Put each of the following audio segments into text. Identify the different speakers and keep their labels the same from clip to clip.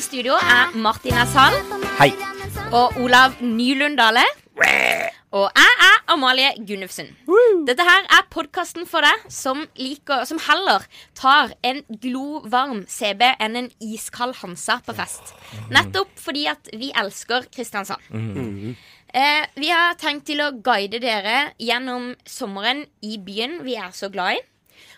Speaker 1: studio er Martina Sand
Speaker 2: Hei.
Speaker 1: og Olav Nylund Dale. Og jeg er Amalie Gunnufsen. Dette her er podkasten for deg som, liker, som heller tar en glovarm CB enn en iskald Hansa på fest. Nettopp fordi at vi elsker Kristiansand. Eh, vi har tenkt til å guide dere gjennom sommeren i byen vi er så glad i.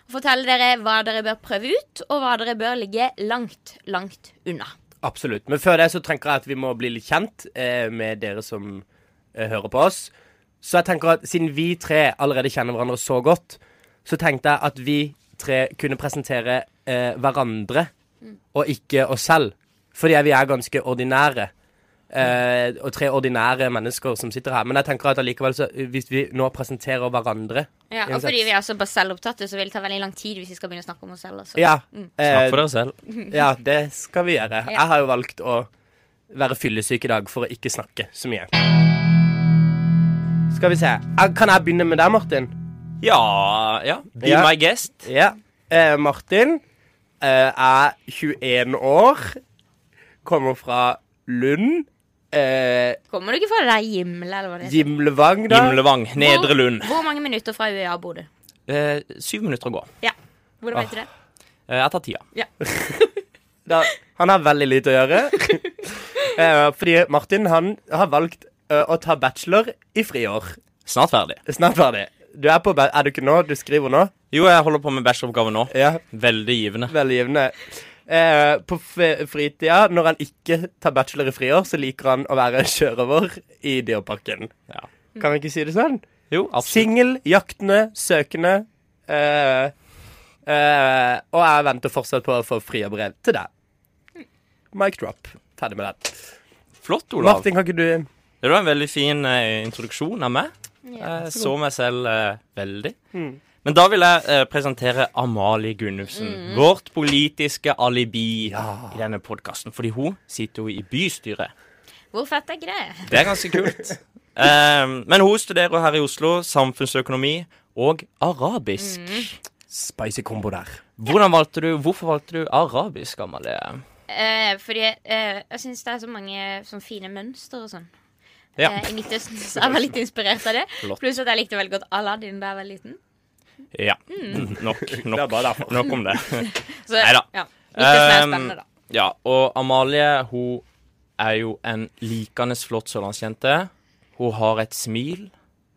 Speaker 1: Og fortelle dere hva dere bør prøve ut, og hva dere bør ligge langt, langt unna.
Speaker 2: Absolutt. Men før det så tenker jeg at vi må bli litt kjent eh, med dere som eh, hører på oss. Så jeg tenker at siden vi tre allerede kjenner hverandre så godt, så tenkte jeg at vi tre kunne presentere eh, hverandre
Speaker 1: Mm.
Speaker 2: og ikke oss selv. Fordi vi er ganske ordinære. Eh, og tre ordinære mennesker som sitter her. Men jeg tenker at allikevel, så, hvis vi nå presenterer hverandre
Speaker 1: Ja, og
Speaker 2: Uansett.
Speaker 1: fordi vi er så bare selvopptatte, så vil det ta veldig lang tid hvis vi skal begynne å snakke om oss selv. altså. Også.
Speaker 2: Ja, eh,
Speaker 3: Snakk for deg selv.
Speaker 2: ja, det skal vi gjøre. Jeg har jo valgt å være fyllesyk i dag for å ikke snakke så mye. Skal vi se. Jeg- Kan jeg begynne med deg, Martin?
Speaker 3: Ja, ja. Be
Speaker 2: Ja.
Speaker 3: my guest.
Speaker 2: Ja. Eh, Martin eh, er 21 år, kommer fra Lund. Eh,
Speaker 1: Kommer du ikke fra det der Gimle, eller hva det heter?
Speaker 2: Gimlevang, da.
Speaker 3: Gimlevang, Nedre Lund.
Speaker 1: Hvor, hvor mange minutter fra UEA bor du?
Speaker 3: Eh, syv minutter å gå.
Speaker 1: Ja. Hvordan
Speaker 3: Ah.
Speaker 1: vet du det?
Speaker 3: Eh, jeg tar tida.
Speaker 2: da. Han har veldig lite å gjøre. eh, fordi Martin han har valgt eh, å ta bachelor i friår.
Speaker 3: Snart ferdig.
Speaker 2: Snart ferdig. Du er, på ba er du ikke nå? Du skriver nå?
Speaker 3: Jo, jeg holder på med bacheloroppgave nå.
Speaker 2: Ja.
Speaker 3: Veldig givende.
Speaker 2: Veldig givende. Eh, på f- fritida, når han ikke tar bachelor i friår, så liker han å være sjørøver i Dyreparken.
Speaker 3: Ja.
Speaker 2: Kan vi ikke si det sånn?
Speaker 3: Jo, absolutt.
Speaker 2: Singel, jaktende, søkende. Eh, eh, og jeg venter fortsatt på å få frierbrev til deg. Mic drop. Ferdig med den.
Speaker 3: Flott, Olav.
Speaker 2: Martin, kan ikke du
Speaker 3: Det var en veldig fin eh, introduksjon av meg. jeg så meg selv eh, veldig. Men da vil jeg eh, presentere Amalie Gunnufsen. Vårt politiske alibi i denne podkasten. Fordi hun sitter jo i bystyret.
Speaker 1: Hvor fett er ikke det?
Speaker 3: Det er ganske kult. Eh, men hun studerer her i Oslo samfunnsøkonomi og arabisk.
Speaker 1: Mm.
Speaker 2: Spicy combo der.
Speaker 3: Hvordan valgte du, Hvorfor valgte du arabisk, Amalie?
Speaker 1: Eh, fordi eh, jeg syns det er så mange sånn fine mønster og sånn.
Speaker 3: Ja.
Speaker 1: Eh, I Midtøsten så jeg var litt inspirert av det.
Speaker 3: Flott.
Speaker 1: Pluss at jeg likte veldig godt Aladdin da jeg var liten.
Speaker 3: ja.
Speaker 1: Mm.
Speaker 3: Nok, nok, nok om det.
Speaker 1: Så,
Speaker 3: Neida.
Speaker 1: Ja, Midtøsten er
Speaker 3: Um,
Speaker 1: spennende, da.
Speaker 3: Ja, og Amalie hun er jo en likende flott sørlandsjente. Hun har et smil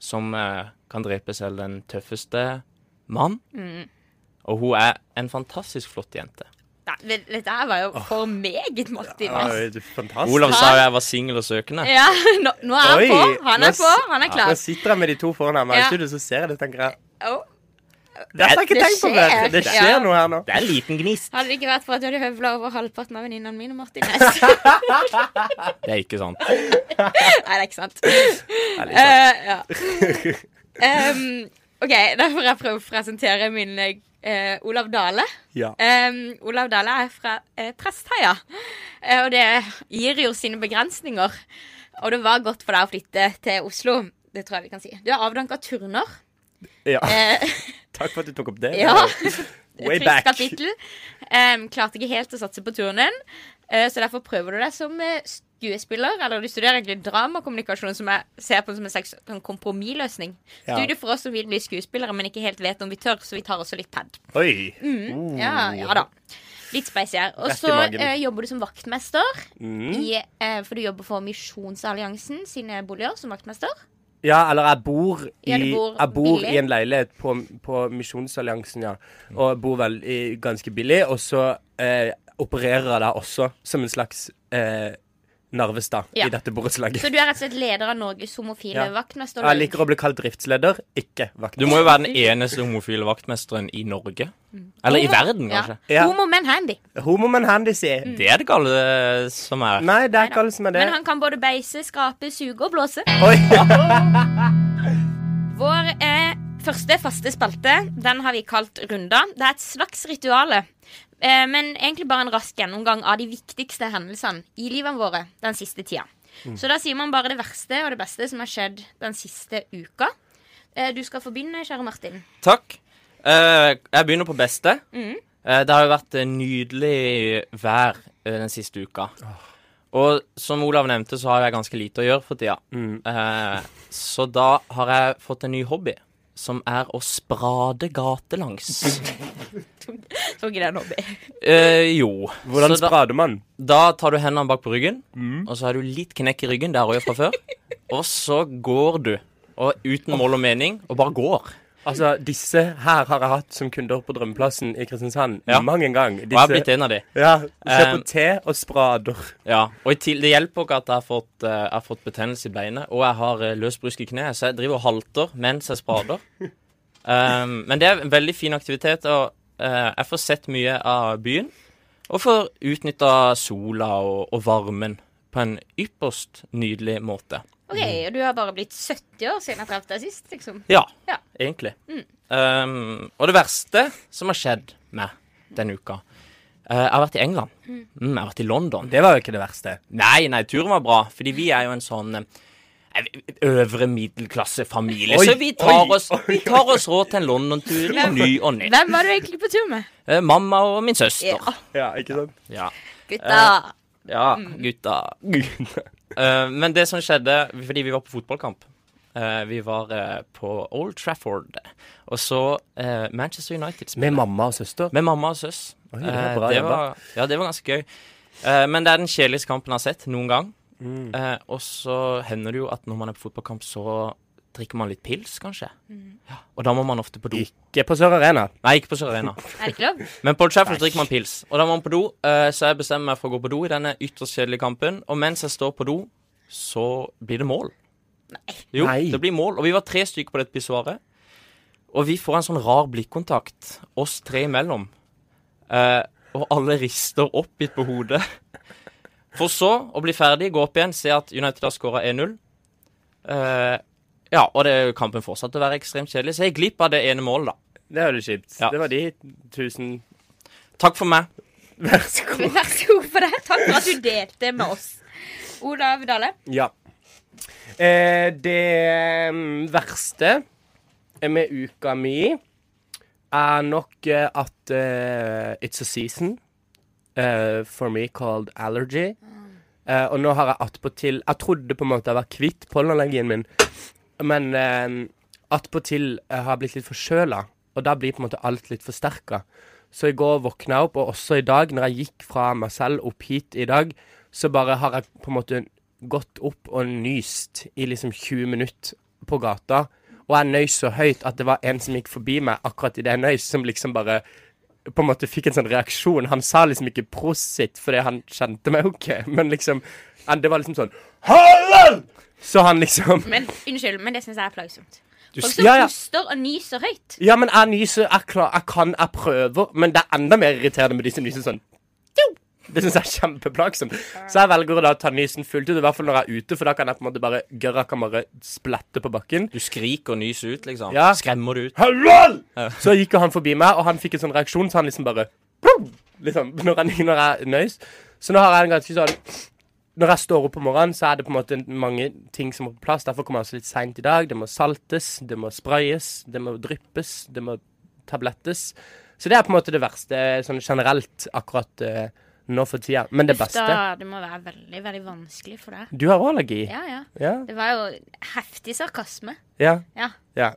Speaker 3: som eh, kan drepe selv den tøffeste mann.
Speaker 1: Mm.
Speaker 3: Og hun er en fantastisk flott jente.
Speaker 1: Nei, det- dette her var jo for meget, Martin. ass.
Speaker 2: Fantastisk.
Speaker 3: Olav sa jo jeg var singel og søkende.
Speaker 1: Ja, nå, nå er han
Speaker 2: Oi,
Speaker 1: på. Han
Speaker 2: nå
Speaker 1: er
Speaker 2: s-
Speaker 1: på. Han er
Speaker 2: Nå
Speaker 1: klar. Oh.
Speaker 2: sitter jeg med de to foran her, men
Speaker 1: Ja.
Speaker 2: ikke du så ser jeg det, tenker jeg.
Speaker 1: Å,
Speaker 2: Dette har jeg ikke
Speaker 1: Det
Speaker 2: tenkt på
Speaker 1: skjer.
Speaker 2: før. Det skjer
Speaker 1: Ja.
Speaker 2: noe her nå.
Speaker 3: Det er en liten gnist.
Speaker 1: Hadde det ikke vært for at du hadde høvla over halvparten av venninnene mine, Martin Næss.
Speaker 3: Det er ikke sant.
Speaker 1: Nei, det er ikke sant. Eh, ja. Em, OK, da får jeg prøve å presentere min eh, Olav Dale.
Speaker 2: Ja.
Speaker 1: Em, Olav Dale er fra eh, Prestheia, Eh, og det gir jo sine begrensninger. Og det var godt for deg å flytte til Oslo. Det tror jeg vi kan si. Du er avdanka turner.
Speaker 2: Ja.
Speaker 1: Eh,
Speaker 2: Takk for at du tok opp det.
Speaker 1: Ja.
Speaker 2: Way
Speaker 1: Trist
Speaker 2: back.
Speaker 1: kapittel. Em, klarte ikke helt å satse på turnen, eh, så derfor prøver du deg som eh, skuespiller. Eller du studerer egentlig dramakommunikasjon, som jeg ser på som en slags sånn kompromissløsning.
Speaker 2: Ja.
Speaker 1: Studie for oss som vil bli skuespillere, men ikke helt vet om vi tør, så vi tar også litt pad.
Speaker 2: Oi.
Speaker 1: Ja, ja da. Litt spicy her. Og
Speaker 2: Mm. Rett i
Speaker 1: så
Speaker 2: magen.
Speaker 1: eh, jobber du som vaktmester,
Speaker 2: Mm.
Speaker 1: i, eh, for du jobber for Misjonsalliansen sine boliger som vaktmester.
Speaker 2: Ja, eller jeg bor i,
Speaker 1: Ja, du bor
Speaker 2: jeg bor
Speaker 1: billig.
Speaker 2: i en leilighet på, på Misjonsalliansen, ja. Og bor vel i, ganske billig. Og så eh, opererer jeg da også som en slags eh, Narvestad
Speaker 1: Ja.
Speaker 2: i dette borettslaget.
Speaker 1: Så du er rett og slett leder av Norges homofile
Speaker 2: Ja.
Speaker 1: vaktmesterlag.
Speaker 2: Jeg liker å bli kalt driftsleder, ikke vakt.
Speaker 3: Du må jo være den eneste homofile vaktmesteren i Norge. Eller i verden, kanskje.
Speaker 1: Eh, Mm. Ja.
Speaker 2: Ja.
Speaker 1: Homo men handy.
Speaker 2: Homo men handy, si.
Speaker 3: Det er det gale eh, som er.
Speaker 2: Nei, det er ikke alle som er det.
Speaker 1: Mm. Men han kan både beise, skrape, suge og blåse.
Speaker 2: Oi.
Speaker 1: Vår eh, første faste spalte den har vi kalt Runda. Det er et slags rituale. Eh, men egentlig bare en rask gjennomgang av de viktigste hendelsene i livene våre den siste tida.
Speaker 2: Mm.
Speaker 1: Så da sier man bare det verste og det beste som har skjedd den siste uka. Eh, du skal få begynne, kjære Martin.
Speaker 3: Takk.
Speaker 1: Mm.
Speaker 3: Eh, jeg begynner på beste. Eh, det har jo vært eh, nydelig vær eh, den siste uka. Og som Olav nevnte, så har jeg ganske lite å gjøre for tida.
Speaker 2: Mm.
Speaker 3: Eh, så da har jeg fått en ny hobby, som er å sprade gatelangs.
Speaker 1: Tror ikke det er en hobby.
Speaker 3: Eh, jo.
Speaker 2: Hvordan
Speaker 3: så da,
Speaker 2: sprader man?
Speaker 3: da tar du hendene bak på ryggen, og så har du litt knekk i ryggen, det har jeg gjort fra før. Og så går du, og uten mål og mening, og bare går.
Speaker 2: Altså, disse her har jeg hatt som kunder på Drømmeplassen i Kristiansand
Speaker 3: Ja.
Speaker 2: mang en gang.
Speaker 3: Og jeg har blitt en av de.
Speaker 2: ja, ser
Speaker 3: Eh,
Speaker 2: på te og sprader.
Speaker 3: Ja, og i til, Det hjelper ikke at jeg har fått, eh, jeg har fått betennelse i beinet, og jeg har eh, løs brusk i kneet, så jeg driver og halter mens jeg sprader. Um, men det er en veldig fin aktivitet, og eh, jeg får sett mye av byen. Og får utnytta sola og, og varmen på en ypperst nydelig måte.
Speaker 1: OK, og du har bare blitt 70 år siden jeg traff deg sist, liksom.
Speaker 3: Ja,
Speaker 1: Ja. Mm.
Speaker 3: egentlig. Um, og det verste som har skjedd meg denne uka eh, Jeg har vært i England. Mm, jeg har vært i London.
Speaker 2: Det var jo ikke det verste.
Speaker 3: Nei, nei, turen var bra, fordi vi er jo en sånn eh, øvre middelklassefamilie.
Speaker 2: Oi,
Speaker 3: Så vi tar,
Speaker 2: oi,
Speaker 3: oss, vi tar oss råd til en London-tur i ny og ne.
Speaker 1: Hvem var du egentlig på tur med?
Speaker 3: Eh, Mamma og min søster.
Speaker 1: Eh. Ja,
Speaker 2: Ja, ikke sant?
Speaker 3: Ja,
Speaker 1: gutta.
Speaker 3: ja
Speaker 1: Mm.
Speaker 3: gutta. Eh, Men det som skjedde, fordi vi var på fotballkamp eh, Vi var eh, på Old Trafford, og så eh, Manchester United spiller.
Speaker 2: Med mamma og søster.
Speaker 3: Med mamma og søs.
Speaker 2: Oi, det er
Speaker 3: Eh,
Speaker 2: bra
Speaker 3: det
Speaker 2: jobba.
Speaker 3: var, ja, det var ganske gøy. Eh, men det er den kjedeligste kampen jeg har sett noen gang.
Speaker 2: Mm.
Speaker 3: Eh, og så hender det jo at når man er på fotballkamp, så drikker man litt pils, kanskje. Ja, og da må man ofte på do.
Speaker 2: Ikke på Sør Arena.
Speaker 3: Nei, ikke på Sør Arena.
Speaker 1: Er det ikke lov?
Speaker 3: Men på Old Trafford drikker man pils, og da må man på do. eh, så jeg bestemmer meg for å gå på do i denne ytterst kjedelige kampen. Og mens jeg står på do, så blir det mål. Nei. Jo,
Speaker 2: Nei.
Speaker 3: det blir mål. Og vi var tre stykker på dette pissoaret. Og vi får en sånn rar blikkontakt, oss tre imellom. Eh, og alle rister oppgitt på hodet. For så å bli ferdig, gå opp igjen, se at United har skåra 1-0. Eh, ja, og det, kampen fortsatte å være ekstremt kjedelig, så jeg gikk glipp av det ene målet, da.
Speaker 2: Det var jo kjipt.
Speaker 3: Ja.
Speaker 2: Det var de tusen
Speaker 3: Takk for meg.
Speaker 2: Vær så god.
Speaker 1: Men Vær så god for det. Takk for at du delte med oss. Olav Dale.
Speaker 2: Ja. Eh, det mm, verste med uka mi er nok eh, at eh, it's a season eh, for me called allergy. Eh, og nå har jeg attpåtil Jeg trodde på en måte jeg var kvitt pollenallergien min, men eh, attpåtil eh, har jeg blitt litt forkjøla, og da blir på en måte alt litt forsterka. Så i går våkna jeg opp, og også i dag, når jeg gikk fra meg selv opp hit i dag, så bare har jeg på en måte gått opp og nyst i liksom 20 minutter på gata. Og jeg nøys så høyt at det var en som gikk forbi meg akkurat idet jeg nøys, som liksom bare på en måte fikk en sånn reaksjon. Han sa liksom ikke 'prosit' fordi han kjente meg jo ikke, men liksom han- Det var liksom sånn 'Hallen!' Så han liksom
Speaker 1: Men unnskyld, men det syns jeg er plagsomt. Folk
Speaker 2: s-
Speaker 1: som
Speaker 2: Ja, ja.
Speaker 1: puster og nyser høyt.
Speaker 2: Ja, men jeg nyser, jeg, klar, jeg kan, jeg prøver, men det er enda mer irriterende med de som nyser sånn. Tjo! Det syns jeg er kjempeplagsomt. Så jeg velger å da ta nysen fullt ut, i hvert fall når jeg er ute, for da kan jeg på en måte bare gørra kan bare splette på bakken.
Speaker 3: Du skriker og nyser ut, liksom.
Speaker 2: Ja.
Speaker 3: Skremmer du ut.
Speaker 2: Hallo! Så gikk jo han forbi meg, og han fikk en sånn reaksjon, så han liksom bare «Pum!» liksom, når, han, når jeg nøys. Så nå har jeg en ganske sånn Når jeg står opp om morgenen, så er det på en måte mange ting som må på plass. Derfor kommer jeg også litt seint i dag. Det må saltes, det må sprayes, det må dryppes, det må tablettes. Så det er på en måte det verste sånn generelt akkurat eh, nå for tida. Men det beste
Speaker 1: Da, det må være veldig, veldig vanskelig for deg.
Speaker 2: Du har òg allergi.
Speaker 1: Ja, ja.
Speaker 2: Ja.
Speaker 1: Det var jo heftig sarkasme.
Speaker 2: Ja.
Speaker 1: Ja.
Speaker 2: ja.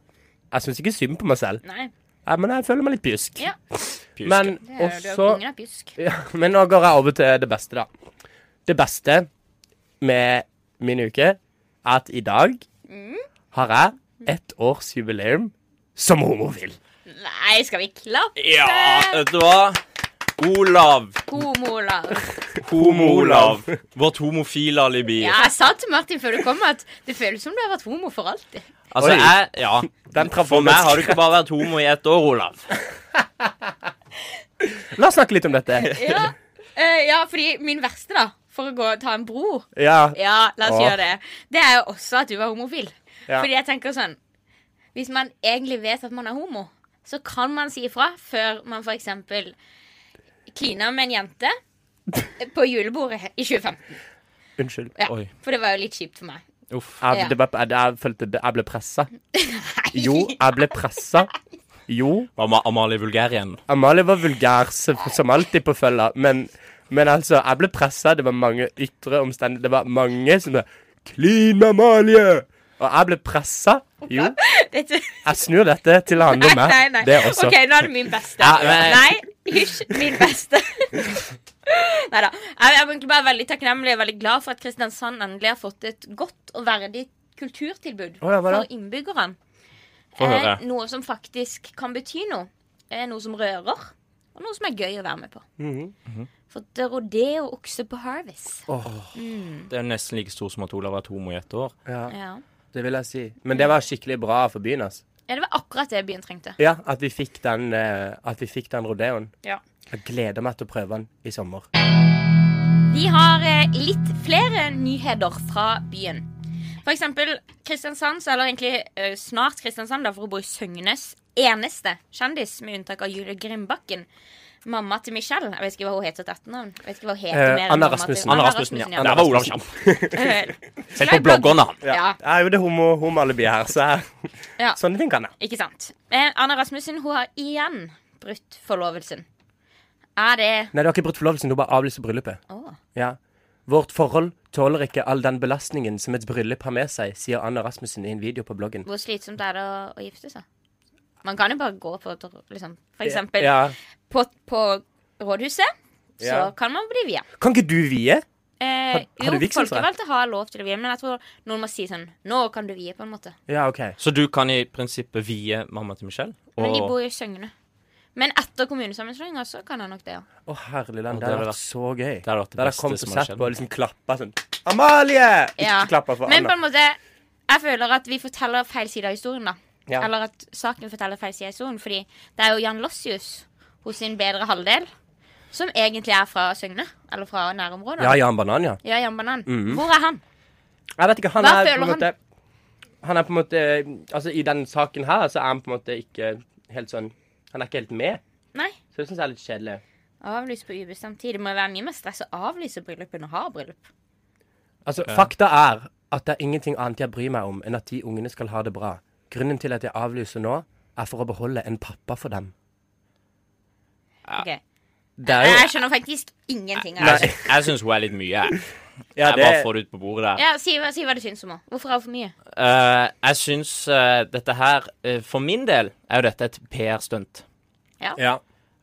Speaker 2: Jeg syns ikke synd på meg selv,
Speaker 1: Nei.
Speaker 2: Ja, men jeg føler meg litt bjusk.
Speaker 1: Ja.
Speaker 3: Pjuske.
Speaker 2: Men
Speaker 1: Det er, du er
Speaker 2: også
Speaker 1: kongen av pjusk.
Speaker 2: Ja, men nå går jeg over til det beste, da. Det beste med min uke er at i dag har jeg ett års jubileum som homofil.
Speaker 1: Nei, skal vi klappe?
Speaker 3: Ja, vet du hva? Olav.
Speaker 2: Eh,
Speaker 1: Homo-Olav.
Speaker 3: Homo-Olav. Vårt homofile alibi.
Speaker 1: Ja, jeg sa til Martin før du kom at det føles som du har vært homo for alltid.
Speaker 3: Altså,
Speaker 2: Oi.
Speaker 3: jeg Ja.
Speaker 2: Den traff
Speaker 3: For
Speaker 2: meg.
Speaker 3: meg har du ikke bare vært homo i ett år, Olav.
Speaker 2: La oss snakke litt om dette.
Speaker 1: Ja, eh, ja fordi min verste, da, for å gå og ta en bro
Speaker 2: Ja,
Speaker 1: Ja, la oss
Speaker 2: Åh.
Speaker 1: gjøre det. Det er jo også at du var homofil.
Speaker 2: Ja.
Speaker 1: Fordi jeg tenker sånn Hvis man egentlig vet at man er homo, så kan man si ifra før man f.eks. kliner med en jente på julebordet he- i 2015.
Speaker 2: unnskyld.
Speaker 1: Ja,
Speaker 3: Oi.
Speaker 1: for det var jo litt kjipt for meg.
Speaker 3: Uff.
Speaker 2: Jeg,
Speaker 1: Ja.
Speaker 2: det var, jeg, jeg følte det- jeg ble pressa. Jo, jeg ble pressa. Jo,
Speaker 3: Var Ma Amalie vulgær igjen?
Speaker 2: Amalie var vulgær som som alltid på følga, men Men altså, jeg ble pressa. Det var mange ytre omstendigheter. Det var mange som sa 'Clean Amalie!' Og jeg ble pressa. Jo,
Speaker 1: Dette-
Speaker 2: jeg snur dette til å handle om
Speaker 1: Nei, nei,
Speaker 2: meg.
Speaker 1: nei.
Speaker 2: Det også.
Speaker 1: OK, nå er det min beste.
Speaker 3: Ja, men-
Speaker 1: Nei, hysj. Min beste. Nei da. Jeg jeg er egentlig bare veldig takknemlig og veldig glad for at Kristiansand endelig har fått et godt og verdig kulturtilbud
Speaker 2: Å ja, hva da?
Speaker 1: for innbyggerne.
Speaker 3: Få høre.
Speaker 1: Eh, noe som faktisk kan bety noe. Eh, noe som rører, og noe som er gøy å være med på.
Speaker 2: Mhm.
Speaker 1: For det er rodeo og okse på Harvest.
Speaker 2: Åh,
Speaker 3: Det er nesten like stor som at Olav har vært homo i ett år.
Speaker 2: ja,
Speaker 1: Ja.
Speaker 2: det vil jeg si. Men det var skikkelig bra for byen, altså.
Speaker 1: ja, det var akkurat det byen trengte.
Speaker 2: Ja, at vi fikk den, eh, at vi fikk den rodeoen.
Speaker 1: Ja.
Speaker 2: Jeg gleder meg til å prøve den i sommer.
Speaker 1: Vi har eh, litt flere nyheter fra byen. For eksempel Kristiansand, så- eller egentlig eh, snart Kristiansand, da, for å bo i Søgnes eneste kjendis, med unntak av Julie Grimbakken. Mamma til Michelle. Jeg vet ikke hva hun heter til etternavn. Jeg vet ikke hva hun heter
Speaker 2: Eh,
Speaker 1: mer enn
Speaker 2: Anna
Speaker 1: mamma til-
Speaker 2: Rasmussen.
Speaker 3: Anna Rasmussen, ja.
Speaker 1: Rasmussen,
Speaker 3: Der var Olav Kjapp. Se på bloggerne. han.
Speaker 1: ja. ja.
Speaker 2: Jeg er jo det homo- homoalibiet her, så jeg,
Speaker 1: Ja.
Speaker 2: sånne ting kan jeg.
Speaker 1: Ikke sant. Eh, Anna Rasmussen hun har igjen brutt forlovelsen. Er det
Speaker 2: Nei, du har ikke brutt forlovelsen, du har bare avlyst bryllupet.
Speaker 1: Å.
Speaker 2: Ja. Vårt forhold tåler ikke all den belastningen som et bryllup har med seg, sier Anna Rasmussen i en video på bloggen.
Speaker 1: Hvor slitsomt er det å, å gifte seg? Man kan jo bare gå på et- liksom, For eksempel
Speaker 2: Ja.
Speaker 1: på, på rådhuset. Så
Speaker 2: Ja.
Speaker 1: kan man bli via.
Speaker 2: Kan ikke du vie?
Speaker 1: Eh,
Speaker 2: Har- har du
Speaker 1: jo,
Speaker 2: vigselsrett?
Speaker 1: folkevalgte har lov til å vie, men jeg tror noen må si sånn Nå kan du vie, på en måte.
Speaker 2: Ja, OK.
Speaker 3: Så du kan i prinsippet vie mamma til Michelle?
Speaker 1: Men de
Speaker 3: Og
Speaker 1: bor jo i Søgne. Men etter kommunesammenslåinga så kan han nok det, ja.
Speaker 2: Å, herlig land. Det
Speaker 3: Å, det
Speaker 2: hadde
Speaker 3: hadde
Speaker 2: vært så gøy.
Speaker 3: det hadde vært det
Speaker 2: Da hadde jeg
Speaker 3: beste
Speaker 2: kommet og
Speaker 3: som hadde
Speaker 2: sett
Speaker 3: skjedd.
Speaker 2: på og liksom klappa sånn Amalie! Ikke
Speaker 1: ja.
Speaker 2: klappa for
Speaker 1: Men på
Speaker 2: Anna.
Speaker 1: en måte Jeg føler at vi forteller feil side av historien, da.
Speaker 2: Ja.
Speaker 1: Eller at saken forteller feil side av historien. Fordi det er jo Jan Lossius hos sin bedre halvdel, som egentlig er fra Søgne. Eller fra nærområdet.
Speaker 2: Ja, Mhm. Jan Banan, ja.
Speaker 1: Ja, Jan Banan. Hvor er han?
Speaker 2: Jeg vet ikke, han
Speaker 1: Hva
Speaker 2: er på
Speaker 1: føler
Speaker 2: en måte Han er på en måte Altså, i den saken her, så er han på en måte ikke helt sånn Han er ikke helt med.
Speaker 1: Nei.
Speaker 2: Så det syns jeg er litt kjedelig.
Speaker 1: Avlyst på ubestemt tid. Det må jo være mye mer stress å avlyse bryllup enn å ha bryllup.
Speaker 2: Altså, fakta er at det er ingenting annet jeg bryr meg om enn at de ungene skal ha det bra. Grunnen til at jeg avlyser nå, er for å beholde en pappa for dem.
Speaker 1: Ok.
Speaker 2: Det er
Speaker 1: Jeg skjønner faktisk ingenting av
Speaker 3: jeg
Speaker 1: det.
Speaker 3: sy- jeg syns hun er litt mye. jeg.
Speaker 2: ja,
Speaker 3: Jeg
Speaker 2: det,
Speaker 3: bare får det ut på bordet der.
Speaker 1: Ja, si, hva- si hva du syns om henne. Hvorfor er hun for mye?
Speaker 3: Eh, jeg syns eh, dette her eh, For min del er jo dette et PR-stunt.
Speaker 2: ja.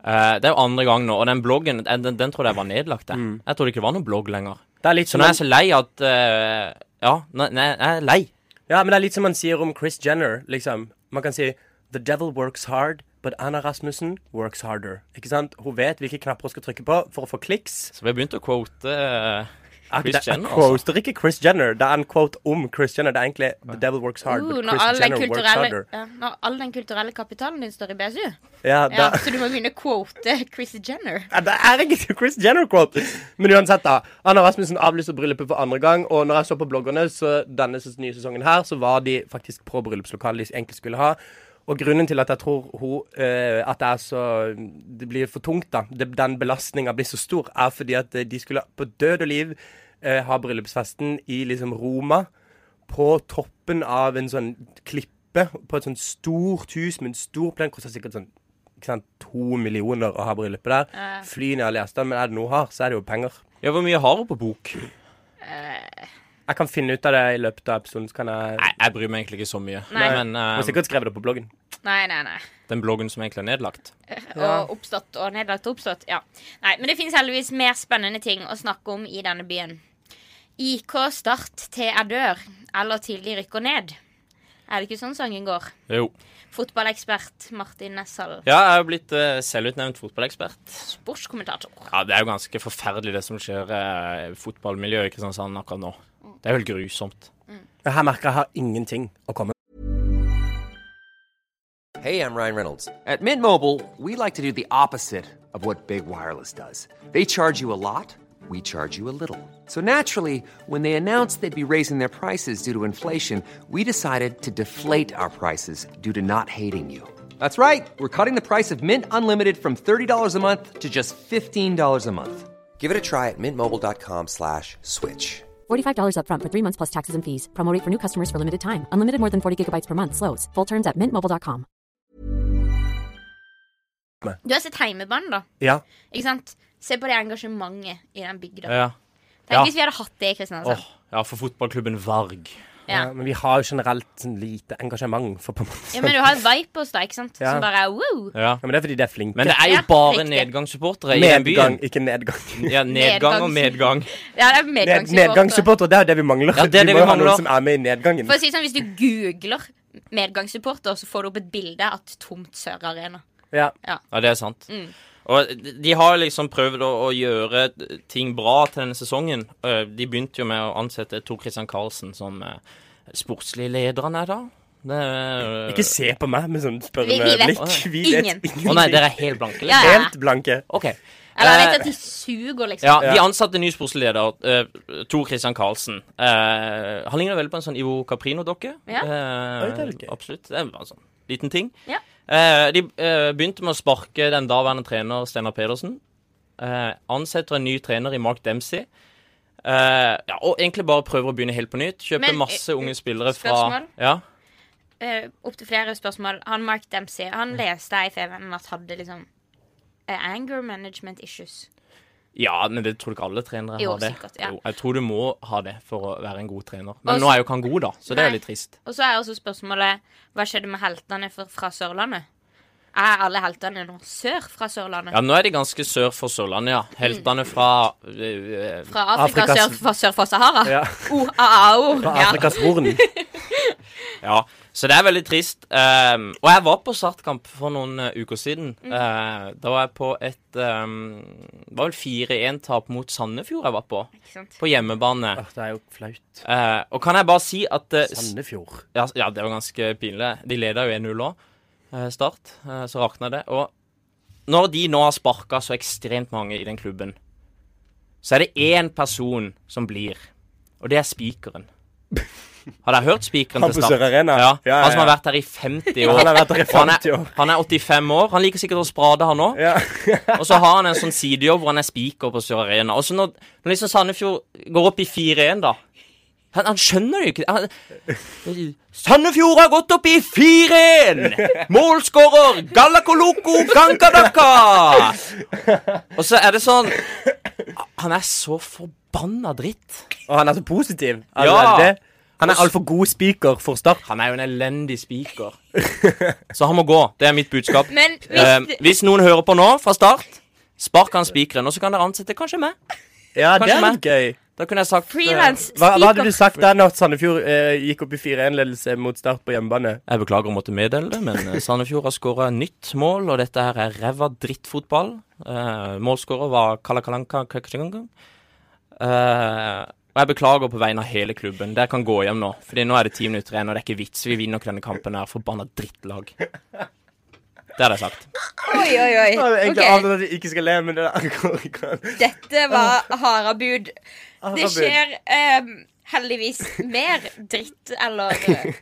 Speaker 3: Eh, det er jo andre gang nå, og den bloggen den, den, den trodde jeg var nedlagt. Jeg,
Speaker 2: Mm.
Speaker 3: jeg trodde ikke det var noen blogg lenger.
Speaker 2: Det er litt
Speaker 3: Så
Speaker 2: som
Speaker 3: nå er
Speaker 2: man,
Speaker 3: jeg så lei at eh, Ja, nei, nei, jeg er lei.
Speaker 2: ja, men det er litt som man sier om Chris Jenner, liksom. Man kan si The devil works hard, but Anna Rasmussen works harder. Ikke sant? Hun vet hvilke knapper hun skal trykke på for å få kliks.
Speaker 3: Så vi har begynt å quote eh,
Speaker 2: Chris
Speaker 3: Chris
Speaker 2: Jenner,
Speaker 3: Jenner,
Speaker 2: quote, Det er ikke Chris Jenner, det er en quote om Chris Jenner. Det er egentlig The devil works hard,
Speaker 1: Uh,
Speaker 2: but
Speaker 1: når, all
Speaker 2: Chris
Speaker 1: den
Speaker 2: Jenner works
Speaker 1: kulturelle,
Speaker 2: harder.
Speaker 1: ja, når all den kulturelle kapitalen din står i BSU.
Speaker 2: Ja, det,
Speaker 1: Ja, så du må begynne å quote Chris Jenner.
Speaker 2: Ja, det er ikke Chris Jenner-quote. Men uansett, da. Anna Rasmussen avlyser bryllupet for andre gang. Og når jeg så på bloggerne, så denne ses- nye sesongen her, så var de faktisk på bryllupslokalet de egentlig skulle ha. Og grunnen til at jeg tror hun, eh, at det er så Det blir for tungt, da. Det, den belastninga blir så stor, er fordi at eh, de skulle på død og liv eh, ha bryllupsfesten i liksom Roma. På toppen av en sånn klippe, på et sånn stort hus med en stor plen. Koster sikkert sånn ikke sant, to millioner å ha bryllupet der.
Speaker 1: Ja.
Speaker 2: Fly ned og lese den, men er det noe hun har, så er det jo penger.
Speaker 3: Ja, hvor mye har hun på bok?
Speaker 2: Jeg kan finne ut av det i løpet av episoden, så kan jeg
Speaker 3: Nei, jeg bryr meg egentlig ikke så mye.
Speaker 1: Nei.
Speaker 3: Men eh,
Speaker 2: Hun har sikkert skrevet det på bloggen.
Speaker 1: Nei, nei, nei.
Speaker 3: den bloggen som egentlig er nedlagt
Speaker 1: Og oppstått og nedlagt og oppstått. Ja. Nei, men det fins heldigvis mer spennende ting å snakke om i denne byen. IK Start til jeg dør, eller til de rykker ned. Er det ikke sånn sangen går?
Speaker 3: Jo.
Speaker 1: Fotballekspert Martin Nessal,
Speaker 3: Ja, jeg er jo blitt eh, selvutnevnt fotballekspert.
Speaker 1: sportskommentator.
Speaker 3: Ja, Det er jo ganske forferdelig det som skjer eh, i fotballmiljøet i Kristiansand akkurat nå. Det er jo helt grusomt.
Speaker 2: Her merker jeg har ingenting å komme med.
Speaker 4: Hey, I'm Ryan Reynolds. At Mint Mobile, we like to do the opposite of what Big Wireless does. They charge you a lot, we charge you a little. So naturally, when they announced they'd be raising their prices due to inflation, we decided to deflate our prices due to not hating you. That's right. We're cutting the price of Mint Unlimited from $30 a month to just $15 a month. Give it a try at mintmobile.com slash switch.
Speaker 5: $45 upfront for three months plus taxes and fees. Promo rate for new customers for limited time. Unlimited more than 40 gigabytes per month. Slows. Full terms at mintmobile.com.
Speaker 1: Du har sett Heimebanen, da.
Speaker 2: Ja.
Speaker 1: Ikke sant? Se på det engasjementet i den bygda.
Speaker 3: Ja.
Speaker 1: Tenk
Speaker 3: Ja.
Speaker 1: hvis vi hadde hatt det i Kristiansand.
Speaker 3: Åh, ja, for fotballklubben Varg.
Speaker 1: Ja.
Speaker 2: Ja, Eh, men vi har jo generelt sånn lite engasjement for på en måte.
Speaker 1: ja, Men du har Vipers, da, ikke sant?
Speaker 2: Ja.
Speaker 1: Som bare er wow.
Speaker 3: Ja.
Speaker 2: Ja, men det er fordi de er flinke.
Speaker 3: Men det er jo
Speaker 1: Ja,
Speaker 3: bare
Speaker 1: riktig.
Speaker 3: nedgangssupportere i den
Speaker 2: Medgang,
Speaker 3: byen.
Speaker 2: ikke nedgang.
Speaker 3: Ja, nedgang og medgang.
Speaker 1: Ja, det er
Speaker 2: Ned,
Speaker 1: medgangssupporter.
Speaker 2: nedgangssupporter, det er jo det vi mangler.
Speaker 3: Ja, det er det
Speaker 2: vi må
Speaker 3: vi
Speaker 2: jo ha
Speaker 3: mangler.
Speaker 2: noen som er med i nedgangen.
Speaker 1: For å si det sånn, Hvis du googler medgangssupporter, så får du opp et bilde av et tomt Sør Arena.
Speaker 2: Ja.
Speaker 3: Ja, det er sant.
Speaker 1: Mm.
Speaker 3: Og de de har liksom prøvd å, å gjøre ting bra til denne sesongen. Eh, De begynte jo med å ansette Tor Christian Karlsen som eh, sportslig leder han er da. Det, er-
Speaker 2: Ikke se på meg med sånn
Speaker 1: Vi-
Speaker 2: spørrende
Speaker 1: vi vet
Speaker 2: blikk. Vi vet
Speaker 1: ingen.
Speaker 2: ingenting.
Speaker 3: Å nei, dere er helt blanke.
Speaker 1: Ja,
Speaker 3: liksom.
Speaker 1: ja.
Speaker 2: Helt blanke.
Speaker 3: OK.
Speaker 1: Eller jeg
Speaker 3: Eh,
Speaker 1: vet at de suger, liksom.
Speaker 3: Ja, de
Speaker 2: Ja.
Speaker 3: ansatte ny sportsleder, eh, Tor Christian Karlsen. Eh, han ligner veldig på en sånn Ivo Caprino-dokke.
Speaker 1: Ja.
Speaker 3: Eh,
Speaker 2: Oi, det er litt gøy.
Speaker 3: absolutt. Det er bare en sånn liten ting.
Speaker 1: Ja.
Speaker 3: Eh, de eh, begynte med å sparke den daværende trener Steinar Pedersen. Eh, ansetter en ny trener i Mark Dempsey. Eh, ja, og egentlig bare prøver å begynne helt på nytt. Kjøper
Speaker 1: Men,
Speaker 3: masse
Speaker 1: eh,
Speaker 3: unge spillere fra
Speaker 1: spørsmål?
Speaker 3: ja.
Speaker 1: Eh, Opp til flere spørsmål. Han Mark Dempsey han leste jeg i FVN at hadde liksom eh, anger management issues.
Speaker 3: ja, men det tror du ikke alle trenere
Speaker 1: Jo,
Speaker 3: har det?
Speaker 1: sikkert, ja.
Speaker 3: Jo, jeg tror du må ha det for å være en god trener. Men
Speaker 1: Og
Speaker 3: nå
Speaker 1: så-
Speaker 3: er jo ikke han god, da, så det
Speaker 1: Nei.
Speaker 3: er litt trist.
Speaker 1: Og så er også spørsmålet hva skjedde med heltene fra, fra Sørlandet? Er alle heltene nå sør fra Sørlandet?
Speaker 3: Ja, nå er de ganske sør for Sørlandet, ja. Heltene fra øh, øh,
Speaker 1: Fra Afrika,
Speaker 2: Afrikas-
Speaker 1: sør, fra, sør for Sahara? Uh,
Speaker 2: Ja.
Speaker 1: O, a, a, o.
Speaker 2: Fra
Speaker 1: oh, Ja.
Speaker 2: Afrikas Horn.
Speaker 3: Ja. Så det er veldig trist. Ehm, og jeg var på startkamp for noen eh, uker siden. Eh, da var jeg på et ehm, Det var vel 4-1-tap mot Sandefjord jeg var på.
Speaker 1: Ikke sant?
Speaker 3: På hjemmebane.
Speaker 2: Åh, Det er jo flaut.
Speaker 3: Eh, og kan jeg bare si at eh, s-
Speaker 2: Sandefjord.
Speaker 3: ja, ja, det var ganske pinlig. De leda jo 1-0 òg, eh, Start. Eh, så rakna det. Og når de nå har sparka så ekstremt mange i den klubben, så er det én person som blir, og det er spikeren. Har dere hørt spikeren
Speaker 2: Han
Speaker 3: til
Speaker 2: på
Speaker 3: Start?
Speaker 2: Sør Arena?
Speaker 3: Ja,
Speaker 2: Ja, ja,
Speaker 3: Han som har
Speaker 2: ja.
Speaker 3: vært der i 50 år.
Speaker 2: Han har vært der i
Speaker 3: Og han er-
Speaker 2: 50 år.
Speaker 3: Han er 85 år. Han liker sikkert å sprade, han òg.
Speaker 2: Ja.
Speaker 3: Og så har han en sånn sidejobb hvor han er spiker på Sør Arena. Og så når, når liksom Sandefjord går opp i 4-1, da han, han skjønner det jo ikke. Han, Sandefjord har gått opp i 4-1! Målskårer Gallakoloko Gankadaka! Og så er det sånn Han er så forbanna dritt.
Speaker 2: Og han er så positiv. Han
Speaker 3: Ja.
Speaker 2: er det. Han er altfor god spiker for Start.
Speaker 3: Han er jo en elendig spiker. Så han må gå. Det er mitt budskap.
Speaker 1: Men hvis
Speaker 3: Eh,
Speaker 1: det-
Speaker 3: hvis noen hører på nå, fra start, spark han spikeren, og så kan dere ansette kanskje meg.
Speaker 2: Ja, det
Speaker 3: Kanskje
Speaker 2: er litt
Speaker 3: meg.
Speaker 2: gøy.
Speaker 3: Da kunne jeg sagt eh,
Speaker 1: Freelance
Speaker 2: Hva, hva hadde
Speaker 1: speaker.
Speaker 2: du sagt da når Sandefjord eh, gikk opp i 4-1-ledelse mot Start på hjemmebane?
Speaker 3: eh, Jeg beklager å måtte meddele det, men eh, Sandefjord har skåra nytt mål, og dette her er ræva drittfotball. Uh, Målskårer var Kalakalanka Kakachangan. Eh, og jeg beklager på vegne av hele klubben. Dere kan gå hjem nå. Fordi nå er det ti minutter igjen, og det er ikke vits. Vi vinner ikke denne kampen her. Forbanna drittlag. Det hadde jeg sagt.
Speaker 1: Oi, oi, oi.
Speaker 2: Jeg hadde egentlig
Speaker 1: Ok,
Speaker 2: avtalt at jeg ikke skal le, men det går ikke an.
Speaker 1: Dette var harabud. Det
Speaker 2: Harabud.
Speaker 1: skjer ehm, heldigvis mer dritt, eller eh,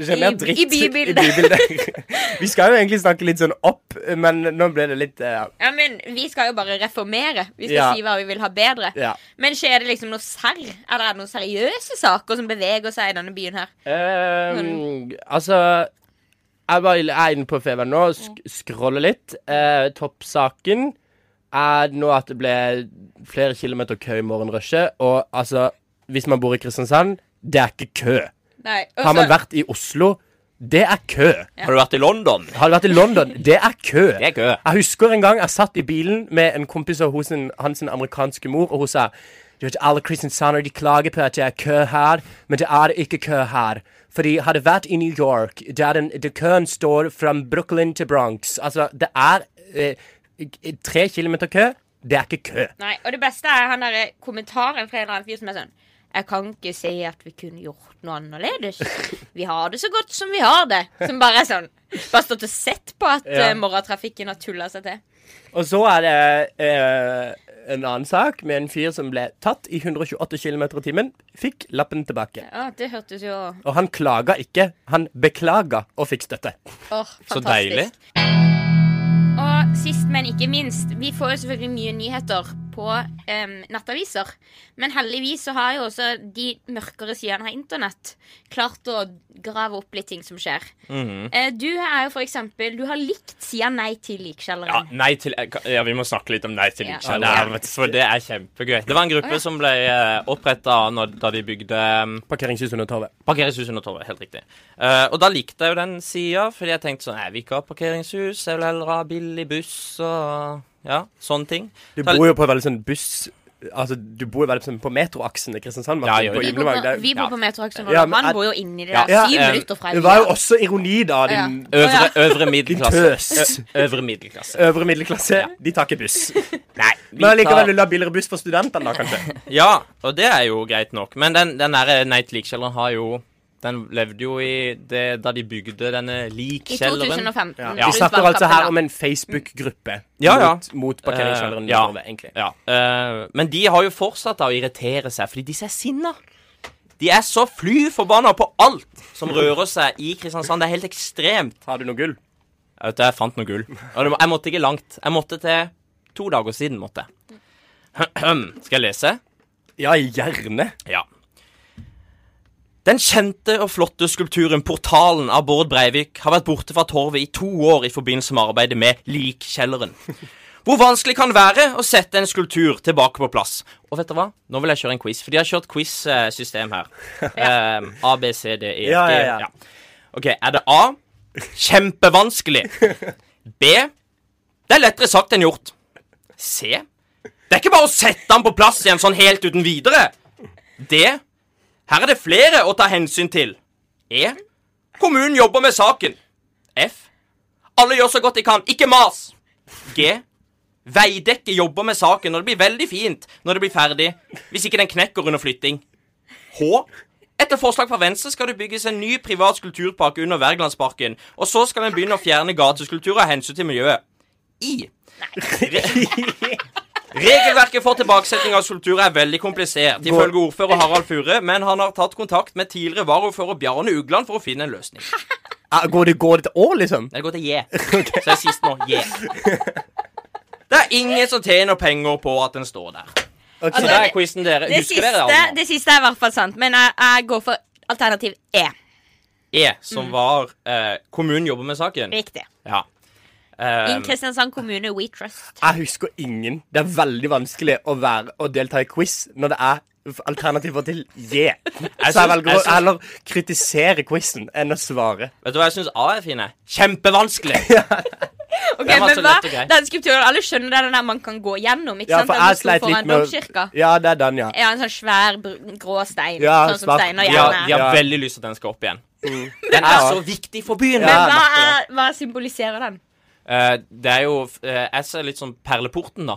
Speaker 2: Det skjer mer
Speaker 1: I-
Speaker 2: dritt
Speaker 1: i bybildet.
Speaker 2: Vi skal jo egentlig snakke litt sånn opp, men nå ble det litt eh,
Speaker 1: Ja, men vi skal jo bare reformere. Vi skal
Speaker 2: Ja.
Speaker 1: si hva vi vil ha bedre.
Speaker 2: Ja.
Speaker 1: Men skjer det liksom noe serr? Eller er det noen seriøse saker som beveger seg i denne byen her?
Speaker 2: Ehm, altså Jeg bare er inne på Feven nå og sk scroller litt. Eh, toppsaken er nå at det ble flere kilometer kø i morgenrushet. Og altså, hvis man bor i Kristiansand, det er ikke kø.
Speaker 1: Nei. og
Speaker 2: Har
Speaker 1: så-
Speaker 2: man vært i Oslo, det er kø.
Speaker 3: Har du vært i London?
Speaker 2: Har du vært i London, det er kø.
Speaker 3: Det er kø.
Speaker 2: Jeg husker en gang jeg satt i bilen med en kompis og hos en, hans amerikanske mor, og hun sa du vet, alle kristiansander de klager på at det er kø her, men det er ikke kø her. Fordi hadde vært i New York, der den, det køen står fra Brooklyn til Bronx Altså, det er eh, eh, tre kilometer kø. Det er ikke kø.
Speaker 1: Nei, og det beste er han derre kommentaren fra en eller annen fyr som er sånn Jeg kan ikke si at vi kunne gjort noe annerledes. Vi har det så godt som vi har det. Som bare er sånn. Bare stått og sett på at
Speaker 2: Ja.
Speaker 1: eh, morgentrafikken har tulla seg til.
Speaker 2: Og så er det eh, en annen sak med en fyr som ble tatt i 128 km i timen. Fikk lappen tilbake.
Speaker 1: Ja, det hørtes jo Åh,
Speaker 2: Og han klaga ikke. Han beklaga og fikk støtte.
Speaker 1: fantastisk.
Speaker 3: Så deilig.
Speaker 1: Og sist, men ikke minst, vi får jo selvfølgelig mye nyheter på em, nettaviser. Men heldigvis så har jo også de mørkere sidene av internett klart å grave opp litt ting som skjer. Eh, du er jo for eksempel Du har likt sida Nei til
Speaker 3: Ja,
Speaker 1: likkjelleren.
Speaker 3: nei til, ja, vi må snakke litt om Nei til
Speaker 1: Ja.
Speaker 3: likkjelleren.
Speaker 1: Ja,
Speaker 2: det er-
Speaker 3: for det er kjempegøy. Det var en gruppe som ble oppretta da de bygde um,
Speaker 2: Parkeringshus under torvet.
Speaker 3: Parkeringshus under torvet, helt riktig. Eh, og da likte jeg jo den sida, fordi jeg tenkte sånn Jeg vil ikke ha parkeringshus, jeg vil heller ha billig buss og ja, sånne ting.
Speaker 2: Du
Speaker 3: Ta-
Speaker 2: bor jo på veldig sånn buss Altså, du bor jo veldig sånn på metroaksen i Kristiansand. Martin,
Speaker 3: Ja, gjør
Speaker 2: på
Speaker 1: Vi
Speaker 3: det.
Speaker 1: bor på,
Speaker 2: Gimlevang. Det er-
Speaker 1: vi
Speaker 3: ja.
Speaker 1: bor på Metroaksjonen,
Speaker 2: Ja,
Speaker 1: og
Speaker 2: men
Speaker 1: han
Speaker 2: er-
Speaker 1: bor jo inni det
Speaker 3: Ja.
Speaker 1: der. Syv
Speaker 3: Ja, eh,
Speaker 1: minutter fra
Speaker 2: Det var jo
Speaker 1: Evje.
Speaker 2: også ironi, da, din
Speaker 1: Å,
Speaker 3: Øvre,
Speaker 1: ja.
Speaker 3: øvre middelklasse.
Speaker 2: Din tøs.
Speaker 3: Ø- Øvre middelklasse.
Speaker 2: øvre middelklasse. De tar ikke buss.
Speaker 3: Nei. vi
Speaker 2: Men allikevel
Speaker 3: tar-
Speaker 2: vil du ha billigere buss for studentene, da, kanskje?
Speaker 3: Ja, og det er jo greit nok. Men den, den der Nate Likkjelleren har jo Den levde jo i det da de bygde denne
Speaker 1: I
Speaker 3: likkjelleren.
Speaker 1: 2015.
Speaker 3: Ja.
Speaker 2: Vi
Speaker 1: rundt
Speaker 2: snakker altså
Speaker 1: valgkampen,
Speaker 2: her
Speaker 1: da.
Speaker 2: om en Facebook-gruppe
Speaker 3: Ja, ja.
Speaker 2: mot, mot parkeringskjelleren.
Speaker 3: Eh, ja.
Speaker 2: Norge, egentlig.
Speaker 3: Ja. eh, men de har jo fortsatt da å irritere seg, fordi disse er sinna. De er så fly forbanna på alt som rører seg i Kristiansand. Det er helt ekstremt.
Speaker 2: Har du noe gull?
Speaker 3: Jeg vet du, jeg fant noe gull. Og det må- jeg måtte ikke langt. Jeg måtte til to dager siden. måtte jeg. Skal jeg lese?
Speaker 2: Ja, gjerne.
Speaker 3: Ja. Den kjente og flotte skulpturen Portalen av Bård Breivik har vært borte fra torvet i to år i forbindelse med arbeidet med Likkjelleren. Hvor vanskelig kan det være å sette en skulptur tilbake på plass? Og vet dere hva? Nå vil jeg kjøre en quiz, for de har kjørt quiz-system her. Eh, A, B, C, D, E, F, G.
Speaker 2: Ja, ja, ja.
Speaker 3: OK, er det A? Kjempevanskelig. B. Det er lettere sagt enn gjort. C. Det er ikke bare å sette den på plass igjen sånn helt uten videre. D. Her er det flere å ta hensyn til. E. Kommunen jobber med saken. F. Alle gjør så godt de kan. Ikke mas. G. Veidekke jobber med saken, og det blir veldig fint når det blir ferdig. Hvis ikke den knekker under flytting. H. Etter forslag fra Venstre skal det bygges en ny privat skulpturpark under Wergelandsparken, og så skal en begynne å fjerne gateskulpturer av hensyn til miljøet. I. Regelverket for tilbakesetting av skulpturer er veldig komplisert, ifølge ordfører Harald Fure, men han har tatt kontakt med tidligere varaordfører Bjarne Ugland for å finne en løsning.
Speaker 2: Ah, Går det, går det til år, liksom?
Speaker 3: Nei, Det går til J. Så jeg er sist nå. J. Det er ingen som tjener penger på at den står der.
Speaker 2: Ok.
Speaker 3: Så det er quizen
Speaker 1: Altså,
Speaker 3: dere.
Speaker 1: Det
Speaker 3: Husker dere
Speaker 1: siste,
Speaker 3: det?
Speaker 1: det siste er i hvert fall sant, men jeg, jeg går for alternativ E.
Speaker 3: E, som var eh, Kommunen jobber med saken.
Speaker 1: Riktig.
Speaker 3: Ja. Eh,
Speaker 2: Um,
Speaker 1: In Kristiansand kommune, we trust.
Speaker 2: Jeg husker ingen. Det er veldig vanskelig å, være, å delta i quiz når det er f- alternativer til J. Så jeg
Speaker 3: syns-
Speaker 2: velger
Speaker 3: jeg
Speaker 2: å
Speaker 3: syns-
Speaker 2: heller kritisere quizen enn å svare.
Speaker 3: vet du hva jeg syns A er fin? jeg? Kjempevanskelig!
Speaker 1: Ok,
Speaker 3: Den var
Speaker 1: men
Speaker 3: så
Speaker 1: hva?
Speaker 3: lett og grei.
Speaker 1: Den skulpturen, Alle skjønner det er den der man kan gå gjennom? ikke
Speaker 2: Ja,
Speaker 1: sant?
Speaker 2: for
Speaker 1: Den
Speaker 2: jeg
Speaker 1: som sto
Speaker 2: sleit litt
Speaker 1: foran
Speaker 2: med
Speaker 1: domkirka.
Speaker 2: å Ja, det er den, ja.
Speaker 1: Ja, en sånn svær, br- grå stein.
Speaker 2: Ja,
Speaker 1: sånn som
Speaker 2: svart.
Speaker 1: steiner
Speaker 3: De
Speaker 1: gjerne
Speaker 3: har,
Speaker 1: er.
Speaker 3: de har
Speaker 2: Ja.
Speaker 3: veldig lyst til at den skal opp igjen.
Speaker 1: Mm.
Speaker 3: Den er så viktig for byen.
Speaker 2: Ja.
Speaker 1: Men hva,
Speaker 3: merker
Speaker 1: er, hva symboliserer den?
Speaker 3: Eh, det er jo eh, Jeg ser litt sånn Perleporten, da.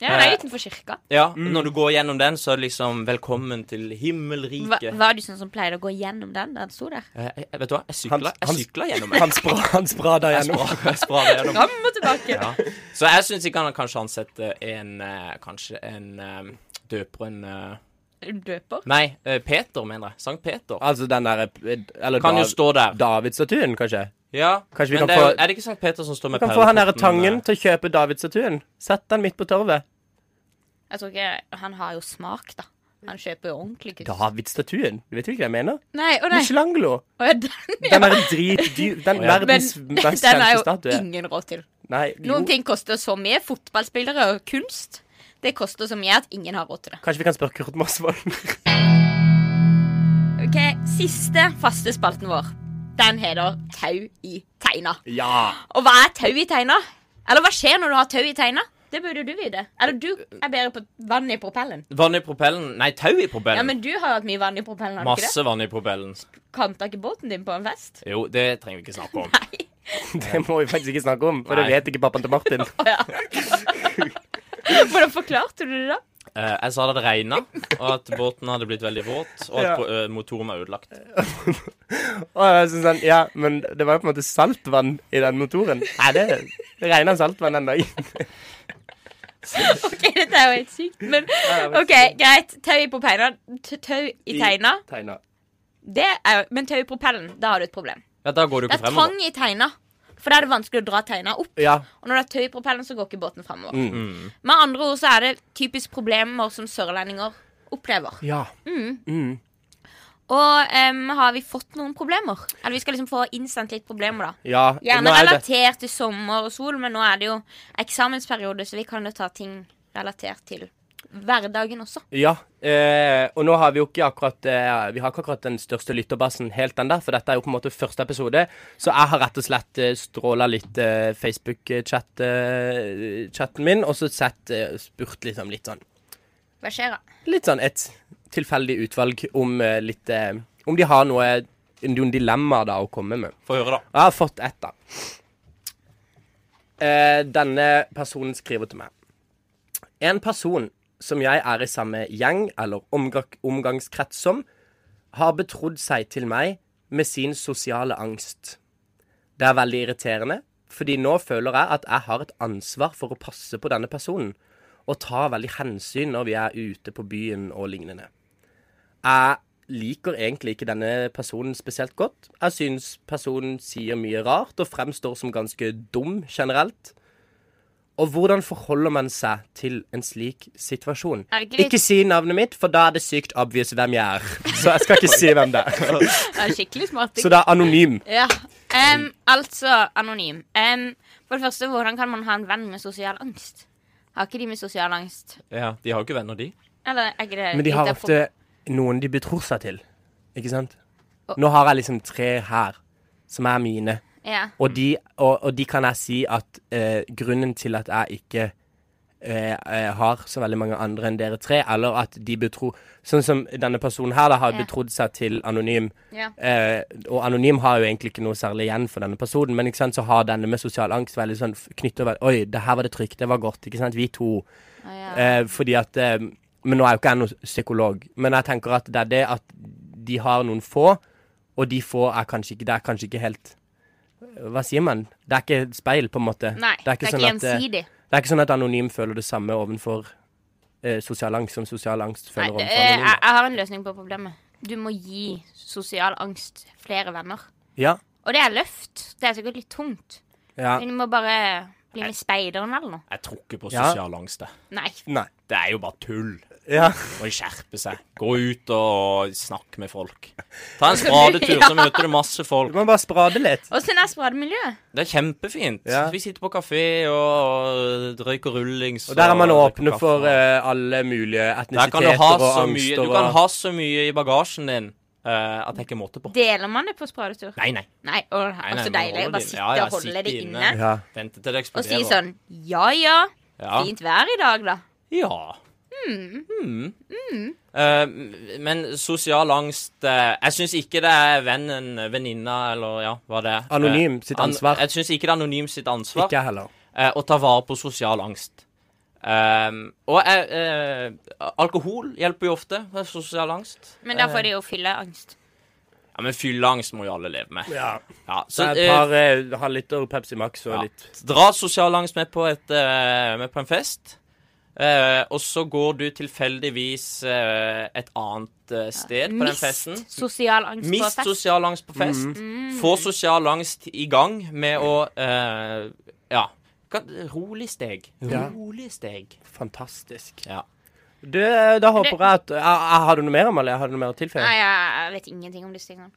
Speaker 1: Ja, Den er
Speaker 2: Eh,
Speaker 1: jo utenfor kirka.
Speaker 3: Ja,
Speaker 2: Mm.
Speaker 3: Når du går gjennom den, så er det liksom Velkommen til
Speaker 1: Hva,
Speaker 3: himmelriket.
Speaker 1: var du sånn som pleide å gå gjennom den da den sto der?
Speaker 3: Eh, jeg- vet du hva? Jeg
Speaker 2: Hans-
Speaker 3: sykla, jeg
Speaker 2: Hans-
Speaker 3: sykla gjennom den.
Speaker 2: Han, spra, han sprada
Speaker 3: Jeg
Speaker 2: gjennom.
Speaker 3: spra- jeg spra det gjennom.
Speaker 1: Fram og tilbake.
Speaker 3: Ja. Så jeg syns ikke han kanskje ansette en eh, Kanskje en eh, døper en eh,
Speaker 1: Døper.
Speaker 3: Nei, eh, Peter, mener jeg. Sankt Peter.
Speaker 2: Altså den derre Eller
Speaker 3: Kan jo
Speaker 2: Dav-
Speaker 3: stå der.
Speaker 2: Davidstatuen, kanskje?
Speaker 3: Ja,
Speaker 2: Kanskje vi
Speaker 3: men
Speaker 2: kan
Speaker 3: det er, jo-
Speaker 2: få-
Speaker 3: er det ikke Sankt Peter som står med
Speaker 2: Kan få han derre
Speaker 3: perleporten,
Speaker 2: Tangen
Speaker 3: eh?
Speaker 2: til å kjøpe Davidstatuen. Sett den midt på torvet.
Speaker 1: Jeg tror ikke Han har jo smak, da. Han kjøper jo ordentlig kunst.
Speaker 2: Davidstatuen? Du vet jo ikke hva jeg mener?
Speaker 1: Nei, å nei.
Speaker 2: Michelangelo.
Speaker 1: Å, ja, den, ja.
Speaker 2: Den derre dritdyr Den
Speaker 3: ja.
Speaker 1: Men
Speaker 2: verdens mest
Speaker 1: den er
Speaker 2: kjente
Speaker 1: jo
Speaker 2: statue.
Speaker 1: ingen råd til.
Speaker 2: Nei, jo.
Speaker 1: Noen ting koster så mye. Fotballspillere og kunst. Det koster så mye at ingen har råd til det.
Speaker 2: Kanskje vi kan spørre Kurt Mosvold?
Speaker 1: Ok, Siste faste spalten vår. Den heter Tau i teina.
Speaker 2: ja.
Speaker 1: Og hva er tau i teina? Eller hva skjer når du har tau i teina? Det burde du vite. Eller du er bedre på vann i propellen.
Speaker 3: Vann i propellen? Nei, tau i propellen.
Speaker 1: Ja, men du har jo hatt mye vann i propellen. har du ikke det?
Speaker 3: Masse vann i propellen.
Speaker 1: Kanta ikke båten din på en fest?
Speaker 3: Jo, det trenger vi ikke snakke om.
Speaker 1: Nei.
Speaker 2: Det må vi faktisk ikke snakke om, for
Speaker 3: Nei.
Speaker 2: det vet ikke pappaen til Martin.
Speaker 1: Å ja. Hvordan forklarte du det da?
Speaker 3: Eh, jeg sa det hadde regna, og at båten hadde blitt veldig våt, og at
Speaker 2: Ja.
Speaker 3: pro- eh, motoren var ødelagt.
Speaker 2: Og jeg synes sånn, ja, Men det var jo på en måte saltvann i den motoren. Nei, det, det regna saltvann den dagen.
Speaker 1: Ok, Dette er jo helt sykt, men OK, greit. Tau i propellen. T- Tau i teina.
Speaker 2: Tegna.
Speaker 1: Det er jo Men tau i propellen, da har du et problem.
Speaker 3: Ja, Da går du
Speaker 1: Det
Speaker 3: ikke
Speaker 1: er tang
Speaker 3: fremover.
Speaker 1: i teina. For da er det vanskelig å dra teina opp.
Speaker 2: Ja.
Speaker 1: Og når det er tøy i propellen, så går ikke båten framover.
Speaker 2: Mm.
Speaker 1: Med andre ord så er det typisk problemer som sørlendinger opplever.
Speaker 2: ja.
Speaker 1: Og em, har vi fått noen problemer? Eller vi skal liksom få instant litt problemer, da.
Speaker 2: ja.
Speaker 1: Gjerne
Speaker 2: Nå er det-
Speaker 1: relatert til sommer og sol, men nå er det jo eksamensperiode, så vi kan jo ta ting relatert til hverdagen også.
Speaker 2: Ja, eh, og nå har vi jo ikke akkurat eh, Vi har ikke akkurat den største lytterbasen helt ennå, for dette er jo på en måte første episode. Så jeg har rett og slett eh, stråla litt eh, Facebook-chatten eh, chatten min, og så sett eh, spurt liksom litt sånn
Speaker 1: Hva skjer da?
Speaker 2: Litt sånn et tilfeldig utvalg om eh, litt eh, Om de har noe noen dilemmaer da å komme med.
Speaker 3: Få høre, da.
Speaker 2: Jeg har fått ett, da. Eh, denne personen skriver til meg. En person som jeg er i samme gjeng eller omga omgangskrets som, har betrodd seg til meg med sin sosiale angst. Det er veldig irriterende, fordi nå føler jeg at jeg har et ansvar for å passe på denne personen, og ta veldig hensyn når vi er ute på byen og lignende. Jeg liker egentlig ikke denne personen spesielt godt. Jeg syns personen sier mye rart og fremstår som ganske dum generelt. Og hvordan forholder man seg til en slik situasjon?
Speaker 1: Er det ikke litt-
Speaker 2: Ikke si navnet mitt, for da er det sykt obvious hvem jeg er. Så jeg skal ikke si hvem det er.
Speaker 1: Det er skikkelig smart.
Speaker 2: Så det er anonym.
Speaker 1: Ja. Em, altså anonym. Em, for det første, hvordan kan man ha en venn med sosial angst? Har ikke de med sosial angst?
Speaker 3: Ja, De har jo ikke venner, de.
Speaker 1: Eller er ikke Eh, det
Speaker 2: Men de har
Speaker 1: litt av
Speaker 2: ofte noen de betror seg til. Ikke sant? Nå har jeg liksom tre her som er mine,
Speaker 1: pro- Ja.
Speaker 2: og de, og, og de kan jeg si at eh, grunnen til at jeg ikke eh, eh, har så veldig mange andre enn dere tre, eller at de betror Sånn som denne personen her da har
Speaker 1: Ja.
Speaker 2: betrodd seg til Anonym.
Speaker 1: Ja.
Speaker 2: Eh, og Anonym har jo egentlig ikke noe særlig igjen for denne personen, men ikke sant, så har denne med sosial angst veldig sånn f- knyttet over Oi, det her var det trygt, det var godt, ikke sant? Vi to.
Speaker 1: Å, Ah, ja.
Speaker 2: Eh, fordi at eh, Men nå er jo ikke jeg noen psykolog, men jeg tenker at det er det at de har noen få, og de få er kanskje ikke Det er kanskje ikke helt Hva sier man? Det er ikke et speil, på en måte.
Speaker 1: Nei, det er ikke,
Speaker 2: sånn at, eh,
Speaker 1: gjensidig.
Speaker 2: det er ikke sånn at anonym føler det samme ovenfor eh, sosial angst som sosial angst
Speaker 1: Nei,
Speaker 2: føler
Speaker 1: det-
Speaker 2: overfor
Speaker 1: eh, jeg,
Speaker 2: anonym.
Speaker 1: jeg har en løsning på problemet. Du må gi sosial angst flere venner.
Speaker 2: Ja,
Speaker 1: Og det er løft. Det er sikkert litt tungt.
Speaker 2: ja.
Speaker 1: Men du må bare bli med i speideren eller noe.
Speaker 3: Jeg tror ikke på
Speaker 2: Ja.
Speaker 3: sosial angst. det.
Speaker 1: Nei.
Speaker 2: Nei.
Speaker 3: Det er jo bare tull.
Speaker 2: Ja.
Speaker 3: Må skjerpe seg. Gå ut og snakk med folk. Ta en spadetur, så møter du masse
Speaker 2: Du
Speaker 3: folk.
Speaker 2: må bare sprade litt.
Speaker 1: Åssen er sprademiljøet?
Speaker 3: Det er kjempefint.
Speaker 2: Ja.
Speaker 3: Vi sitter på kafé og røyker rullings.
Speaker 2: Og der er man
Speaker 3: drikker
Speaker 2: åpne
Speaker 3: kaffe.
Speaker 2: for eh, alle mulige
Speaker 3: Der kan du
Speaker 2: etnisiteter
Speaker 3: ha
Speaker 2: og
Speaker 3: så mye
Speaker 2: angster
Speaker 3: Du kan
Speaker 2: og
Speaker 3: ha så mye i bagasjen din eh, at jeg ikke måtte på.
Speaker 1: Deler man det på spradetur?
Speaker 3: Nei, nei.
Speaker 1: Nei, å, altså
Speaker 3: man
Speaker 1: deilig.
Speaker 3: holder
Speaker 1: Bare
Speaker 3: det
Speaker 1: sitte
Speaker 3: inne. Ja, ja,
Speaker 1: og holde
Speaker 3: sitte
Speaker 1: det
Speaker 3: inne.
Speaker 1: inne.
Speaker 2: ja.
Speaker 3: Vente til det
Speaker 1: Og si
Speaker 3: eksploderer.
Speaker 1: sånn Ja ja,
Speaker 3: Ja.
Speaker 1: fint vær i dag, da.
Speaker 3: Ja. Mm. Eh, men sosial angst eh, Jeg syns ikke det er vennen, venninna eller ja, hva det er.
Speaker 2: Anonym
Speaker 3: Eh,
Speaker 2: sitt ansvar.
Speaker 3: An, jeg syns ikke det er anonym sitt ansvar
Speaker 2: Ikke jeg heller.
Speaker 3: eh, å ta vare på sosial angst. Ehm, og jeg, eh, alkohol hjelper jo ofte med sosial angst.
Speaker 1: Men da får de jo
Speaker 3: Eh.
Speaker 1: fylleangst.
Speaker 3: Ja, Men fylleangst må jo alle leve med.
Speaker 2: Ja.
Speaker 3: Ja, så,
Speaker 2: Så et
Speaker 3: eh,
Speaker 2: par eh, halvliter Pepsi Max og
Speaker 3: Ja.
Speaker 2: litt
Speaker 3: Dra sosial angst med på, et, eh, med på en fest, eh, og så går du tilfeldigvis eh, et annet eh, sted på den festen.
Speaker 1: Mist sosial angst på
Speaker 3: Mist
Speaker 1: fest. Mm.
Speaker 3: sosial angst på fest.
Speaker 2: Mm.
Speaker 3: Få sosial angst i gang med å eh, Ja. Kan- Rolig steg.
Speaker 2: Ja.
Speaker 3: Rolig steg.
Speaker 2: Fantastisk.
Speaker 3: Ja.
Speaker 2: Du, eh, da
Speaker 1: Det-
Speaker 2: håper jeg at jeg, jeg, Har du noe mer om eller har du noe mer å tilføye?
Speaker 1: Nei, jeg jeg vet ingenting om disse tingene.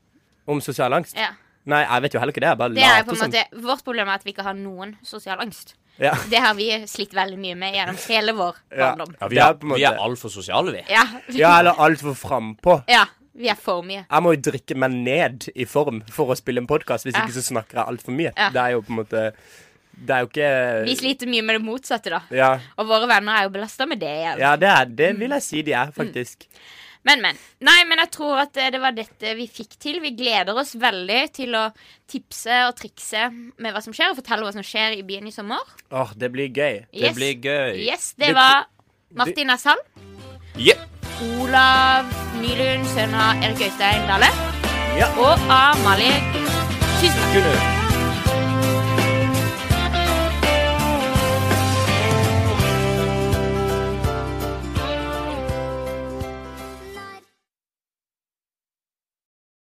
Speaker 2: Om sosial angst?
Speaker 1: Ja.
Speaker 2: Nei, jeg vet jo heller ikke det. Jeg bare
Speaker 1: Det er på
Speaker 2: later
Speaker 1: en
Speaker 2: som.
Speaker 1: måte, vårt problem er at vi ikke har noen sosial angst.
Speaker 2: Ja.
Speaker 1: Det har vi slitt veldig mye med gjennom hele vår
Speaker 2: Ja.
Speaker 1: barndom.
Speaker 3: Ja, vi,
Speaker 2: Det er
Speaker 3: er,
Speaker 2: på en måte-
Speaker 3: vi er altfor sosiale, vi.
Speaker 1: Ja.
Speaker 2: ja, eller altfor frampå.
Speaker 1: ja. Vi er for mye.
Speaker 2: Jeg må jo drikke meg ned i form for å spille en podkast, hvis
Speaker 1: Ja.
Speaker 2: ikke så snakker jeg altfor mye.
Speaker 1: Ja.
Speaker 2: Det er jo på en måte Det er jo ikke
Speaker 1: Vi sliter mye med det motsatte, da.
Speaker 2: ja.
Speaker 1: Og våre venner er jo belasta med det. igjen.
Speaker 2: ja, det er det vil jeg si de
Speaker 1: Mm.
Speaker 2: er, faktisk.
Speaker 1: Men, men. Nei, men jeg tror at eh, det var dette vi fikk til. Vi gleder oss veldig til å tipse og trikse med hva som skjer, og fortelle hva som skjer i byen i sommer.
Speaker 2: Åh, det blir gøy.
Speaker 3: Det blir gøy.
Speaker 1: Yes, det
Speaker 2: Det-
Speaker 1: var Martin Asshall,
Speaker 3: Yeah.
Speaker 1: Olav Nylund, sønn av Erik Øystein Dale
Speaker 2: Ja.
Speaker 1: og Amalie Tusen takk.
Speaker 2: Kunne.